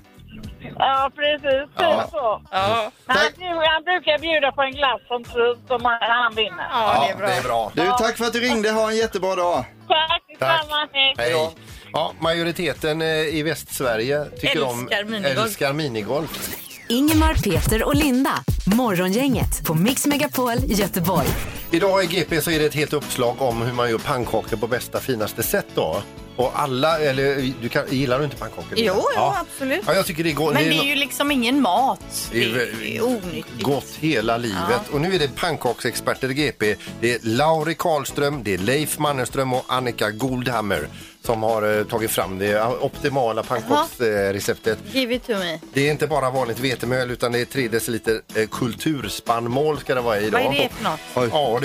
Speaker 11: Ja, precis.
Speaker 6: Ja.
Speaker 11: Typ så. Han, bjud- han brukar bjuda på en glass som tröst om han, han vinner.
Speaker 6: Du, tack för att du ringde. Ha en jättebra dag.
Speaker 11: Tack
Speaker 3: Tack.
Speaker 11: detsamma. Hej.
Speaker 3: Hej. Ja, majoriteten eh, i Västsverige tycker om
Speaker 1: Älskar minigolf.
Speaker 3: älskar minigolf.
Speaker 1: Ingemar, Peter och Linda. Morgongänget på Mix Megapol Göteborg.
Speaker 3: Idag i GP så är det ett helt uppslag om hur man gör pannkakor på bästa finaste sätt då. Och alla, eller du kan, gillar du inte pannkakor? Linda?
Speaker 4: Jo, jo, absolut.
Speaker 3: Ja, jag tycker det går.
Speaker 4: Men det
Speaker 3: nå-
Speaker 4: är ju liksom ingen mat.
Speaker 3: Det är
Speaker 4: Det är
Speaker 3: ju
Speaker 4: onyttigt.
Speaker 3: Gott hela livet. Och nu är det pannkaksexperter i GP. Det är Lauri Karlström, det är Leif Mannerström och Annika Goldhammer som har eh, tagit fram det optimala pannkaksreceptet.
Speaker 4: Give it to me.
Speaker 3: Det är inte bara vanligt vetemjöl utan det är 3 deciliter eh, kulturspannmål ska det vara i idag.
Speaker 4: Vad är det för något?
Speaker 3: Oj. Ja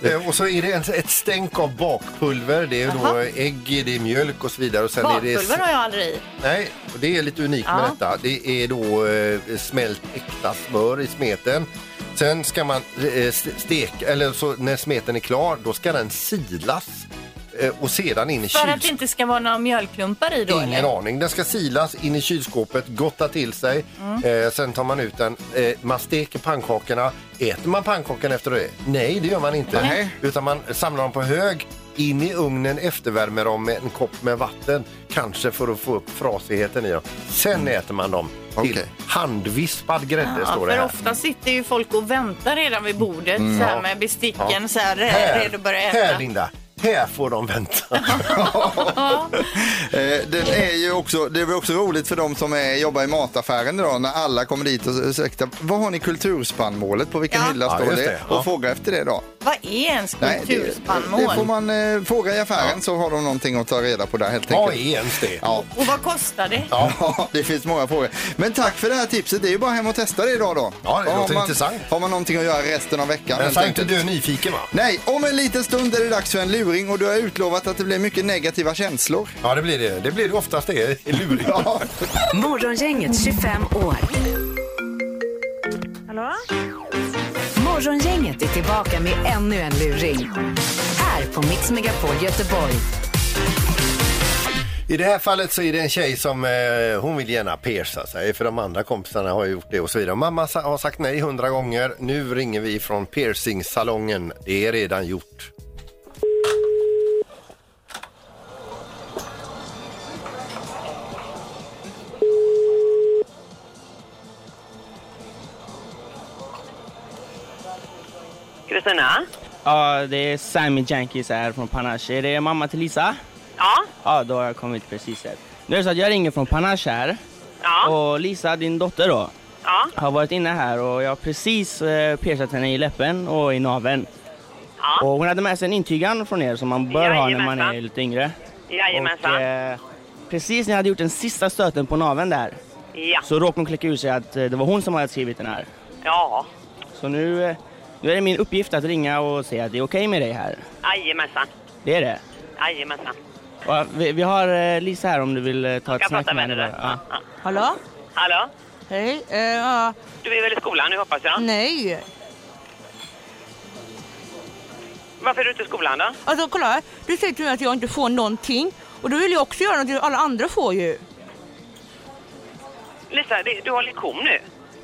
Speaker 3: du. Eh, Och så är det en- ett stänk av bakpulver. Det är då
Speaker 4: Jaha.
Speaker 3: eh, ägg, det är mjölk och så vidare. Och sen är det...
Speaker 4: Bakpulver har jag aldrig i.
Speaker 3: Nej, och det är lite unikt med
Speaker 4: Ja.
Speaker 3: detta. Det är då eh, smält äkta smör i smeten. Sen ska man eh, st- steka, eller så när smeten är klar, då ska den silas eh, och sedan in i
Speaker 4: För att det
Speaker 3: kylskåpet.
Speaker 4: inte ska vara några mjölklumpar i då
Speaker 3: Ingen
Speaker 4: eller?
Speaker 3: aning. Den ska silas in i kylskåpet, gotta till sig.
Speaker 4: Mm.
Speaker 3: Eh, sen tar man ut den. Eh, man steker pannkakorna. Äter man pannkakan efter det? Nej, det gör man inte.
Speaker 6: Nej.
Speaker 3: Utan man samlar dem på hög, in i ugnen, eftervärmer dem med en kopp med vatten. Kanske för att få upp frasigheten i dem. Sen äter man dem till
Speaker 6: Okej.
Speaker 3: handvispad grädde,
Speaker 4: Mm. Ja,
Speaker 3: står det
Speaker 4: för
Speaker 3: här.
Speaker 4: ofta sitter ju folk och väntar redan vid bordet
Speaker 3: Mm.
Speaker 4: så
Speaker 3: Ja.
Speaker 4: här med besticken
Speaker 3: Ja.
Speaker 4: så här re- redo att börja
Speaker 3: här,
Speaker 4: äta.
Speaker 3: Linda, här får de
Speaker 4: *laughs*
Speaker 3: vänta.
Speaker 6: Eh, Den är ju också, det är väl också roligt för de som är, jobbar i mataffären idag när alla kommer dit och s- ursäkta, vad har ni kulturspannmålet på vilken hylla
Speaker 3: Ja,
Speaker 6: står
Speaker 3: just
Speaker 6: det?
Speaker 3: det, ja.
Speaker 6: Och fråga efter det då.
Speaker 4: Vad är ens
Speaker 6: Nej, det, det får
Speaker 4: kulturspannmål?
Speaker 6: man eh, fråga i affären så har de någonting att ta reda på där helt
Speaker 3: Vad
Speaker 6: enkelt.
Speaker 3: är ens det?
Speaker 6: Ja.
Speaker 4: Och vad kostar det?
Speaker 6: Ja, det finns många frågor. Men tack för det här tipset. Det är ju bara hem och testa det idag då.
Speaker 3: Ja, det
Speaker 6: Har
Speaker 3: låter
Speaker 6: man,
Speaker 3: intressant.
Speaker 6: Har man någonting att göra resten av veckan
Speaker 3: Men
Speaker 6: helt
Speaker 3: sa inte
Speaker 6: enkelt.
Speaker 3: du nyfiken, va?
Speaker 6: Nej, om en liten stund är det dags för en luring och du har utlovat att det blir mycket negativa känslor.
Speaker 3: Ja, det blir det. Det blir det oftast *laughs* det. i Luring.
Speaker 1: Morgongänget 25 år.
Speaker 12: Hallå?
Speaker 1: Morgongänget är tillbaka med ännu en luring. Här på Mix Megapol Göteborg.
Speaker 3: I det här fallet så är det en tjej som eh, hon vill gärna pierca sig för de andra kompisarna har gjort det och så vidare. Mamma sa, har sagt nej hundra gånger. Nu ringer vi från piercingsalongen. Det är redan gjort.
Speaker 12: Kristina?
Speaker 13: Ja, det är Sammy Jenkins här från Panache. Är det mamma till Lisa?
Speaker 12: Ja?
Speaker 13: Ja, då har jag kommit precis här. Nu är det så att jag ringer från Panache här.
Speaker 12: Ja.
Speaker 13: Och Lisa, din dotter då,
Speaker 12: Ja?
Speaker 13: har varit inne här och jag har precis eh, piercat henne i läppen och i naveln.
Speaker 12: Ja.
Speaker 13: Och hon hade med sig en intygan från er som man bör ha när man
Speaker 12: Jajamensan.
Speaker 13: är lite yngre.
Speaker 12: Jajamensan.
Speaker 13: Och, eh, precis när jag hade gjort den sista stöten på naveln där
Speaker 12: Ja.
Speaker 13: så råkade hon kläcka ur sig att eh, det var hon som hade skrivit den här.
Speaker 12: Ja.
Speaker 13: Så nu, eh, nu är det min uppgift att ringa och säga att det är okej med dig här.
Speaker 12: Jajamensan.
Speaker 13: Det är det.
Speaker 12: Jajamensan.
Speaker 13: Ja, vi, vi har eh, Lisa här om du vill eh, ta ett
Speaker 12: Jag
Speaker 13: snack
Speaker 12: pratar
Speaker 13: med
Speaker 12: med
Speaker 13: henne.
Speaker 12: henne.
Speaker 13: bara. Ja.
Speaker 12: Hallå? Hallå?
Speaker 14: Hej. eh, ja.
Speaker 12: Du är väl i skolan nu hoppas jag?
Speaker 14: nej.
Speaker 12: Varför är du inte i skolan då?
Speaker 14: Alltså kolla här. Du säger till mig att jag inte får någonting. Och då vill jag också göra någonting. Alla andra får ju.
Speaker 12: Lisa, det, du har lektion nu.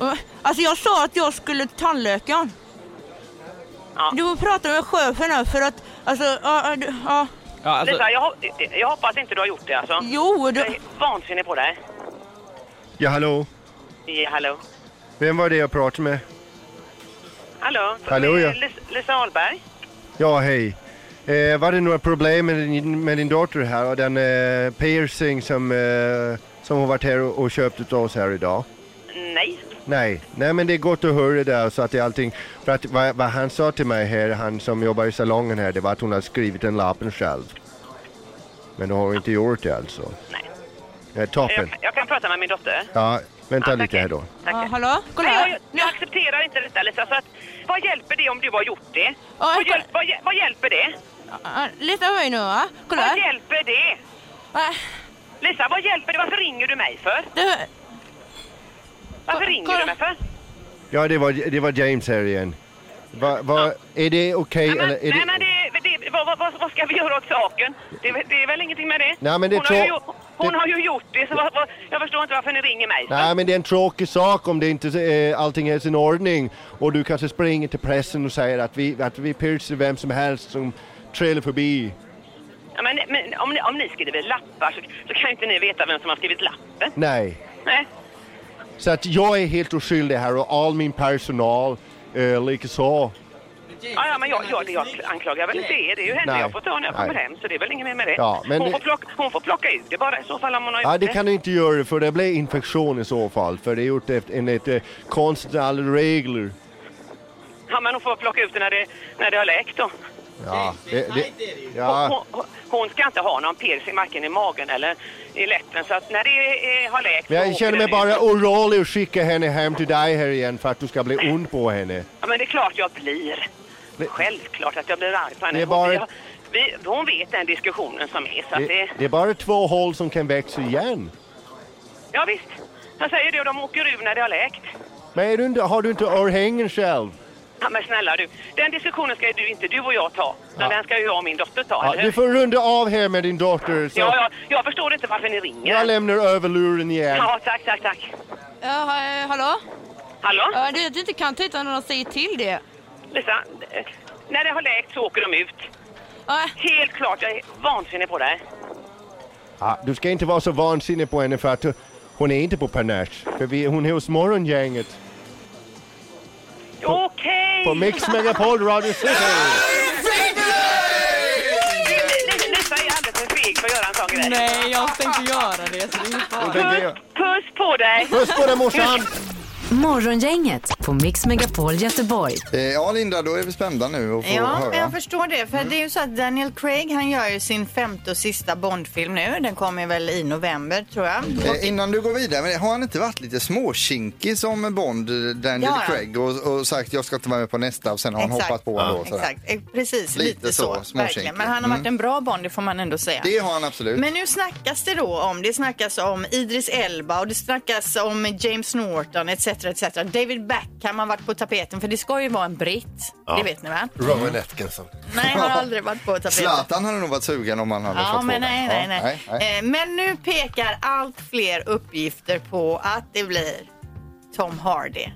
Speaker 14: Eh, Alltså jag sa att jag skulle till tandläkaren. Du får prata med chefen här för att... Alltså, ja, ja, du- ja.
Speaker 12: Lisa, jag, hop- jag hoppas inte du har gjort det alltså.
Speaker 14: Jo, du-
Speaker 12: Jag är vansinnig på dig.
Speaker 15: Ja, hallå.
Speaker 12: Ja, hallå?
Speaker 15: Vem var det jag pratade med?
Speaker 12: Hallå?
Speaker 15: Hallå,
Speaker 12: Det är
Speaker 15: ja.
Speaker 12: Lis- Lisa Ahlberg?
Speaker 15: Ja, hej. Eh, var det några problem med din, med din dotter här och den eh, piercing som, eh, som hon varit här och, och köpt åt oss här idag?
Speaker 12: Nej.
Speaker 15: Nej, nej men det är gott att höra där så att det är allting. För att vad, vad han sa till mig här, han som jobbar i salongen här, det var att hon hade skrivit en lappen själv. Men då har hon inte gjort det alltså. Nej. Ja, toppen.
Speaker 12: Jag, jag kan prata med min dotter.
Speaker 15: Ja, Vänta
Speaker 12: Ja, tack,
Speaker 15: lite här då.
Speaker 12: Tack.
Speaker 14: hallå? Kolla
Speaker 12: Nej,
Speaker 14: här.
Speaker 12: jag, jag accepterar inte detta Lisa. För att, vad hjälper det om du har gjort det? vad, hjälp, vad, hjä- vad hjälper det?
Speaker 14: Ja, Lite höj nu va? Kolla
Speaker 12: Vad
Speaker 14: här.
Speaker 12: hjälper det? Lisa, vad hjälper det? Varför ringer du mig för? Varför ringer du mig för?
Speaker 15: Ja, det var, det var James här igen. Va, va, är det okej eller? Är
Speaker 12: Nej,
Speaker 15: det...
Speaker 12: men det, det, vad, vad- vad, vad ska vi göra åt saken? Det, är väl- det är väl ingenting med det?
Speaker 15: Nej, men det är
Speaker 12: hon, har ju,
Speaker 15: trå-
Speaker 12: gjort- hon har ju gjort det, så vad, vad, jag förstår inte varför ni ringer mig.
Speaker 15: Nej, men det är en tråkig sak om det inte, eh, allting är i sin ordning och du kanske springer till pressen och säger att vi, att vi piercer vem som helst som trillar förbi.
Speaker 12: Ja, men, men om, ni, om ni skriver lappar så, så kan ju inte ni veta vem som har skrivit lappen.
Speaker 15: Nej.
Speaker 12: Nej.
Speaker 15: Så att jag är helt oskyldig här och all min personal eh, likaså.
Speaker 12: Ja, ja, men jag, jag, jag anklagar väl inte er. Det är ju henne
Speaker 15: Nej.
Speaker 12: jag får ta när jag kommer
Speaker 15: Nej.
Speaker 12: hem, så det är väl inget mer med det.
Speaker 15: Ja, men
Speaker 12: hon,
Speaker 15: det-
Speaker 12: får plocka, hon får plocka ut det bara i så fall om hon har
Speaker 15: Ja,
Speaker 12: gjort
Speaker 15: det kan du inte göra för det blir infektion i så fall för det är gjort efter- enligt eh, konstnärliga regler.
Speaker 12: Ja, men hon får plocka ut det när det, när det har läkt då.
Speaker 15: Ja, det, det,
Speaker 12: Hon,
Speaker 15: ja,
Speaker 12: hon, hon ska inte ha någon piercing varken i magen eller i läppen, så att när det eh, har läkt...
Speaker 15: men
Speaker 12: så
Speaker 15: jag
Speaker 12: åker
Speaker 15: känner mig
Speaker 12: den ut.
Speaker 15: bara orolig och skicka henne hem till dig här igen för att du ska bli ond på henne.
Speaker 12: Ja, men det är klart jag blir. Självklart att jag blir arg på henne.
Speaker 15: Det är bara-
Speaker 12: Hon- vi, hon vet den diskussionen som är, så att
Speaker 15: Det,
Speaker 12: det...
Speaker 15: det är bara två hål som kan växa igen.
Speaker 12: Ja, visst. Jag säger det och de åker ur när det har läkt.
Speaker 15: Men är du inte, har du inte örhängen själv?
Speaker 12: Ja, men snälla du, den diskussionen ska ju du, inte du och jag ta, utan den ska ju jag och min dotter ta,
Speaker 15: Ja,
Speaker 12: eller
Speaker 15: du
Speaker 12: hur?
Speaker 15: får runda av här med din dotter. Så
Speaker 12: Ja, ja, jag förstår inte varför ni ringer.
Speaker 15: Jag lämnar över luren igen.
Speaker 12: Ja, tack, tack, tack.
Speaker 14: Ja, ha- eh, hallå?
Speaker 12: Hallå?
Speaker 14: Ja, det är att du inte kan titta när de säger till det.
Speaker 12: Lisa, eh, när det har läkt så åker de ut. Helt klart, jag är vansinnig på det här.
Speaker 15: Ja, du ska inte vara så vansinnig på henne för att hon är inte på Panache. För vi, hon är hos morgongänget.
Speaker 12: Okej!
Speaker 15: På Mix Megapol Radio City.
Speaker 12: Lisa är alldeles för feg för att göra en sån grej.
Speaker 16: Nej, jag tänkte göra det. Så det är ingen fara.
Speaker 1: Puss-
Speaker 12: puss på dig!
Speaker 1: Puss på dig, morsan. Morgongänget på Mix Megapol Göteborg.
Speaker 6: Eh, Ja, Linda, då är vi spända nu och får
Speaker 4: Ja,
Speaker 6: höra.
Speaker 4: men jag förstår det. För
Speaker 6: Mm.
Speaker 4: det är ju så att Daniel Craig han gör ju sin femte och sista Bondfilm nu. Den kommer väl i november tror jag.
Speaker 6: Eh, Innan du går vidare, med det, har han inte varit lite småkinkig som Bond, eh, Daniel
Speaker 4: Ja, ja.
Speaker 6: Craig, och, och sagt jag ska inte vara med på nästa och sen har han hoppat på ändå. sådär.
Speaker 4: Exakt, Eh, precis.
Speaker 6: Lite
Speaker 4: Lite,
Speaker 6: så,
Speaker 4: så.
Speaker 6: småkinkig.
Speaker 4: verkligen. Men han har varit
Speaker 6: Mm.
Speaker 4: en bra Bond, det får man ändå säga.
Speaker 6: Det har han absolut.
Speaker 4: Men nu snackas det då om, det snackas om Idris Elba och det snackas om James Norton etc. etc. David Beckham har varit på tapeten för det ska ju vara en britt.
Speaker 6: Ja.
Speaker 4: Det vet ni va?
Speaker 6: Rowan
Speaker 3: Mm.
Speaker 6: Atkinson.
Speaker 4: Nej, han har aldrig varit på tapeten.
Speaker 6: Zlatan hade nog varit sugen om han hade
Speaker 4: Ja,
Speaker 6: fått
Speaker 4: men
Speaker 6: frågan.
Speaker 4: nej,
Speaker 6: Ja,
Speaker 4: nej, nej. Eh, Men nu pekar allt fler uppgifter på att det blir Tom Hardy.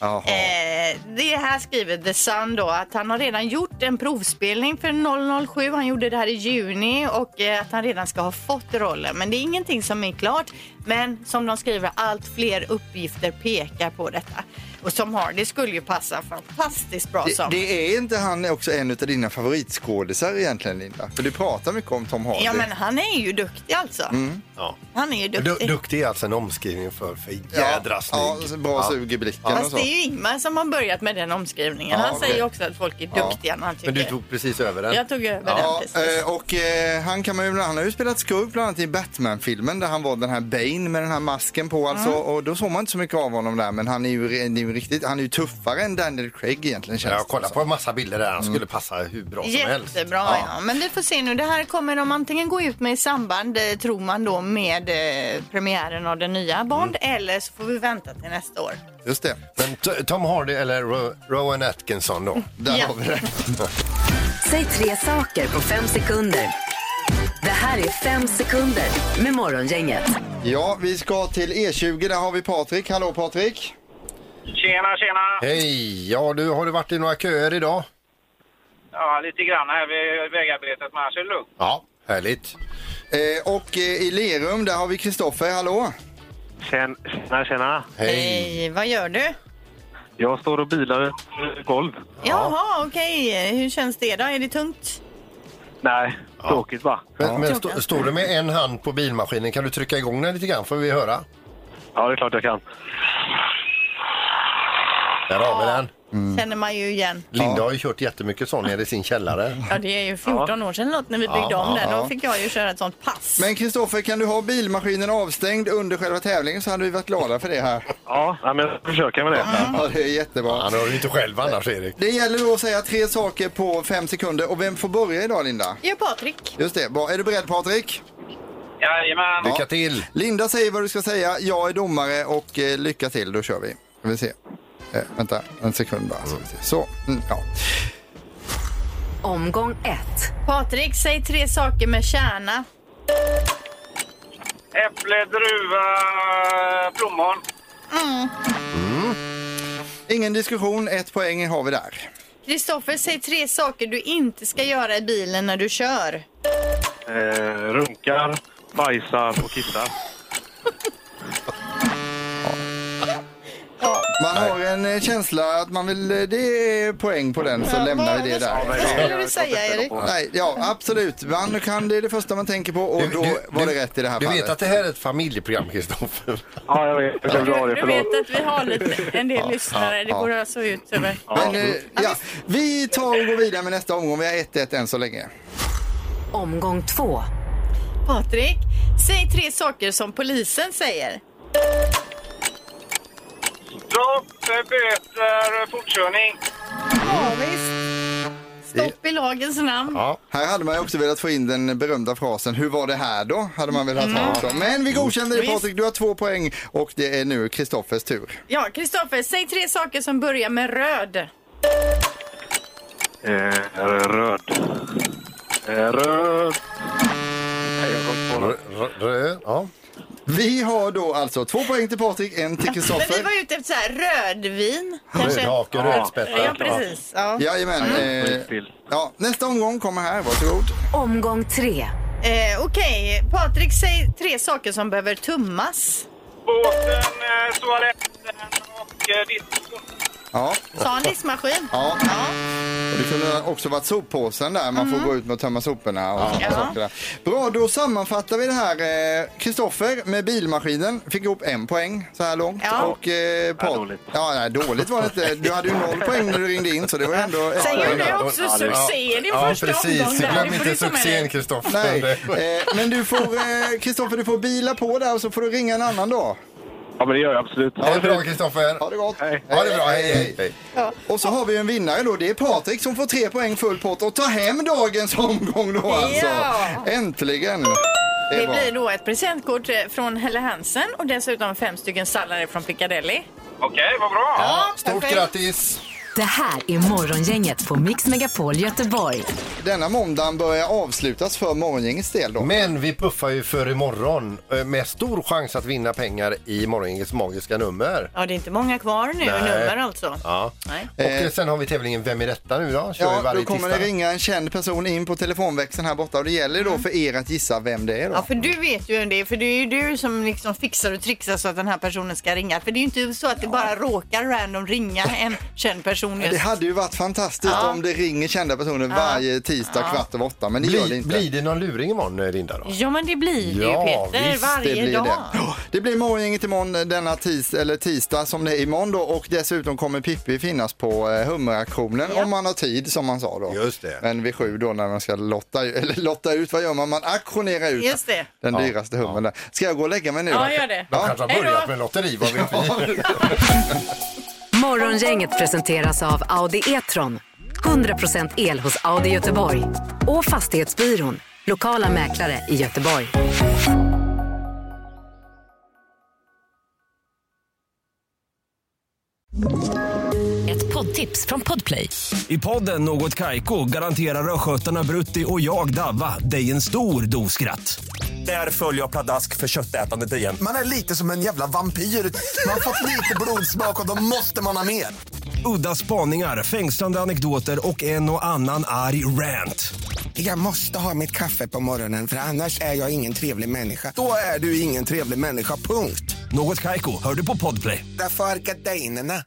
Speaker 6: Jaha.
Speaker 4: Eh, det här skriver The Sun då att han har redan gjort en provspelning för 007. Han gjorde det här i juni och eh, att han redan ska ha fått rollen. Men det är ingenting som är klart. Men som de skriver, allt fler uppgifter pekar på detta. Och Tom Hardy skulle ju passa fantastiskt bra
Speaker 6: Det,
Speaker 4: som.
Speaker 6: det är inte han också en av dina favoritskådisar egentligen, Linda? För du pratar mycket om Tom Hardy.
Speaker 4: Ja men han är ju duktig alltså.
Speaker 6: Mm.
Speaker 3: Ja.
Speaker 4: Han är ju
Speaker 3: Du,
Speaker 4: duktig.
Speaker 3: duktig är alltså en omskrivning för, för jädra snygg.
Speaker 6: ja, bra sug i blicken
Speaker 4: Fast det är ju Ingmar som har börjat med den omskrivningen.
Speaker 3: Ja,
Speaker 4: han
Speaker 3: okej.
Speaker 4: säger ju också att folk är
Speaker 6: Ja.
Speaker 4: duktiga när han tycker...
Speaker 3: Men du tog precis över den.
Speaker 4: Jag tog över
Speaker 6: Ja,
Speaker 4: den precis.
Speaker 6: eh, och eh, han, kan man ju, han har ju spelat skurk bland annat i Batman-filmen där han var den här Bane med den här masken på alltså
Speaker 4: Mm.
Speaker 6: och då såg man inte så mycket av honom där men han är ju, re- det är ju riktigt, han är ju tuffare än Daniel Craig egentligen känns
Speaker 3: Jag kollar på en massa bilder där han
Speaker 6: Mm.
Speaker 3: skulle passa hur bra som helst.
Speaker 4: Jättebra, ja. Men vi får se nu. Det här kommer de antingen gå ut med i samband, eh, tror man då, med eh, premiären av den nya Bond
Speaker 3: Mm.
Speaker 4: eller så får vi vänta till nästa år.
Speaker 6: Just det.
Speaker 3: Men T- Tom Hardy eller Ro- Rowan Atkinson då?
Speaker 6: Där
Speaker 1: Ja. har vi det. Säg tre saker på fem sekunder. Det här är fem sekunder med Morgongänget.
Speaker 6: Ja, vi ska till E20, där har vi Patrik. Hallå Patrik!
Speaker 7: Tjena, tjena!
Speaker 3: *laughs* Hej! Ja, du, har du varit i några köer idag?
Speaker 7: Ja, lite grann här vid vägarbetet, men annars är det lugnt.
Speaker 3: Ja, härligt.
Speaker 6: Eh, och eh, i Lerum, där har vi Kristoffer. Hallå!
Speaker 17: Tjena, tjena.
Speaker 3: Hej.
Speaker 4: Hej, Eh, vad gör du?
Speaker 17: Jag står och bilar eh, golv.
Speaker 4: Jaha, okej. Hur känns det då? Är det tungt?
Speaker 17: Nej, tråkigt va?
Speaker 3: Men, men stå, står du med en hand på bilmaskinen, kan du trycka igång den lite grann får vi höra?
Speaker 17: Ja, det är klart jag kan.
Speaker 3: Där har vi den.
Speaker 4: Känner man ju igen.
Speaker 3: Linda har ju kört jättemycket sån nere i sin källare.
Speaker 4: Ja, det är ju 14 år sedan något när vi
Speaker 3: Ja,
Speaker 4: byggde om
Speaker 3: ja,
Speaker 4: den.
Speaker 3: ja.
Speaker 4: Då fick jag ju köra ett sånt pass.
Speaker 6: Men Kristoffer, kan du ha bilmaskinen avstängd under själva tävlingen så hade vi varit glada för det här.
Speaker 17: Ja, ja, men jag ska försöka med det.
Speaker 6: Ja, det är jättebra.
Speaker 3: Han har ju inte själv annars, Erik.
Speaker 6: Det gäller då att säga tre saker på fem sekunder. Och vem får börja idag, Linda?
Speaker 4: Ja, Patrik.
Speaker 6: Just det. Bra. Är du beredd, Patrik?
Speaker 12: Jajamän.
Speaker 6: Ja.
Speaker 3: till!
Speaker 6: Linda säger vad du ska säga. Jag är domare och eh, lycka till. Då kör vi. Ska vi se. Eh, vänta, en sekund bara. Så. vi ser. så. Mm, ja.
Speaker 4: Omgång 1. Patrik, säg tre saker med kärna.
Speaker 12: Äpple, druva, plommon.
Speaker 6: Ingen diskussion. Ett poäng har vi där.
Speaker 4: Kristoffer, säg tre saker du inte ska göra i bilen när du kör.
Speaker 17: Eh, runkar, bajsar och kissar.
Speaker 6: Man har en eh, känsla att man vill... eh, Det är poäng på den, så
Speaker 4: Ja,
Speaker 6: lämnar
Speaker 4: vad-
Speaker 6: vi det
Speaker 4: vad-
Speaker 6: där.
Speaker 4: vad skulle du säga, Erik?
Speaker 6: Nej, ja, absolut. Man kan, det är det första man tänker på och då var det rätt i det här
Speaker 3: Du
Speaker 6: fallet.
Speaker 3: vet att det här är ett familjeprogram, Kristoffer?
Speaker 17: Ja, jag vet.
Speaker 6: Jag drar
Speaker 4: Du vet att vi har lite, en del lyssnare. Det
Speaker 6: ja.
Speaker 4: går så ut över.
Speaker 6: Men, eh, ja, vi tar och går vidare med nästa omgång. Vi har 1-1 än så länge.
Speaker 4: Omgång två. Patrik, säg tre saker som polisen säger.
Speaker 12: Stopp,
Speaker 7: eh,
Speaker 12: böter, fortkörning.
Speaker 4: Ja, visst. Stopp i lagens namn.
Speaker 6: Här hade man ju också velat få in den berömda frasen Hur var det här då? Hade man velat ha
Speaker 4: Mm.
Speaker 6: också. Men vi godkände det
Speaker 4: Visst.
Speaker 6: Patrik. Du har två poäng och det är nu Kristoffers tur.
Speaker 4: Ja, Kristoffer, säg tre saker som börjar med röd.
Speaker 17: Eh, röd. Eh, röd. Nej, jag kom på något.
Speaker 3: Röd, ja.
Speaker 6: Vi har då alltså två poäng till Patrik, en till
Speaker 4: Men vi
Speaker 6: Kristoffer.
Speaker 4: var ute efter så här, rödvin. kanske?
Speaker 6: Rödhake, rödspätta.
Speaker 4: Ja, precis. Ja.
Speaker 6: Jajamän.
Speaker 4: Mm.
Speaker 6: Eh, ja, nästa omgång kommer här. Varsågod.
Speaker 4: Omgång tre. Eh, Okej, Patrik, säg tre saker som behöver tummas.
Speaker 12: Båten, eh, toaletten och eh, diskon.
Speaker 6: Ja.
Speaker 4: Sa han diskmaskin?
Speaker 6: Ja. Och Det kunde också varit soppåsen där. Man får gå ut med och tömma soporna. Och sådana
Speaker 4: Mm. Ja.
Speaker 6: saker där. Bra, då sammanfattar vi det här. Eh, Kristoffer med bilmaskinen fick ihop en poäng så här långt.
Speaker 4: Ja.
Speaker 6: Och eh, Pat- dåligt. Ja, nej, dåligt var det inte. Du hade ju noll poäng när du ringde in så det var ändå ett
Speaker 4: Sen
Speaker 6: poäng.
Speaker 4: gjorde jag också
Speaker 6: Ja, det-
Speaker 4: succé i din första omgång. där. Det får du ta med dig.
Speaker 3: *laughs*
Speaker 6: Nej, eh, men du får, eh, Kristoffer, du får bila på där och så får du ringa en annan dag.
Speaker 17: Ja, men det gör jag absolut.
Speaker 6: Ha det bra,
Speaker 3: Kristoffer.
Speaker 6: Ha det gott. Hej.
Speaker 3: Ha det bra. Hej, hej.
Speaker 6: Och så har vi en vinnare då. Det är Patrik som får tre poäng full pott och tar hem dagens omgång då alltså.
Speaker 4: Ja.
Speaker 6: Äntligen. Det är
Speaker 4: Det
Speaker 6: bra.
Speaker 4: blir då ett presentkort eh, från Helle Hansen och dessutom fem stycken sallader från Piccadilly.
Speaker 12: Okej, vad bra.
Speaker 4: Ja, stort perfekt.
Speaker 3: grattis!
Speaker 1: Det här är Morgongänget på Mix Megapol Göteborg.
Speaker 6: Denna måndagen börjar avslutas för morgongängets del då.
Speaker 3: Men vi puffar ju för imorgon eh, med stor chans att vinna pengar i morgongängets magiska nummer.
Speaker 4: Ja, det är inte många kvar nu,
Speaker 3: Nej.
Speaker 4: nummer alltså.
Speaker 3: Ja.
Speaker 4: Nej.
Speaker 3: Och eh, sen har vi tävlingen Vem är detta nu då? Kör vi
Speaker 6: Ja,
Speaker 3: varje
Speaker 6: då kommer det
Speaker 3: tisdag.
Speaker 6: ringa en känd person in på telefonväxeln här borta och det gäller då för er att gissa vem det är då.
Speaker 4: Mm. Ja, för du vet ju en det, för det är ju du som liksom fixar och trixar så att den här personen ska ringa. För det är ju inte så att det bara råkar random ringa en känd person
Speaker 6: Det
Speaker 4: just.
Speaker 6: hade ju varit fantastiskt
Speaker 4: Ja.
Speaker 6: om det ringer kända personer
Speaker 4: Ja.
Speaker 6: varje tisdag
Speaker 4: Ja.
Speaker 6: kvart över åtta, men det gör det
Speaker 3: Blir,
Speaker 6: inte.
Speaker 3: blir det någon luring imorgon eh, Linda? Då?
Speaker 4: Ja, men det blir det ju Peter, varje
Speaker 6: det blir
Speaker 4: dag.
Speaker 6: Det. Ja, det blir morgongänget imorgon eh, denna tis, eller tisdag som det är imorgon då och dessutom kommer Pippi finnas på eh, hummeraktionen om man har tid som man sa då.
Speaker 3: Just det.
Speaker 6: Men vid sju då när man ska lotta, *laughs* eller lotta ut, vad gör man? Man auktionerar ut
Speaker 4: Just det.
Speaker 6: den dyraste hummen där. Ska jag gå och lägga mig nu?
Speaker 4: Ja, gör det.
Speaker 6: Ja.
Speaker 4: De kanske har Hej börjat då.
Speaker 3: med lotteri, vad vet vi?
Speaker 1: Morgongänget presenteras av Audi E-tron. 100% el hos Audi Göteborg. Och Fastighetsbyrån, lokala mäklare i Göteborg.
Speaker 18: Ett poddtips från Podplay. I podden Något Kaiko garanterar östgötarna Brutti och jag, Davva, dig en stor dos skratt. Där följer jag pladask för köttätandet igen.
Speaker 19: Man är lite som en jävla vampyr. Man har fått lite blodsmak och då måste man ha mer.
Speaker 18: Udda spaningar, fängslande anekdoter och en och annan arg rant.
Speaker 19: Jag måste ha mitt kaffe på morgonen för annars är jag ingen trevlig människa. Då är du ingen trevlig människa, punkt.
Speaker 18: Något Kaiko, hör du på Podplay.
Speaker 19: Därför arkadeinerna.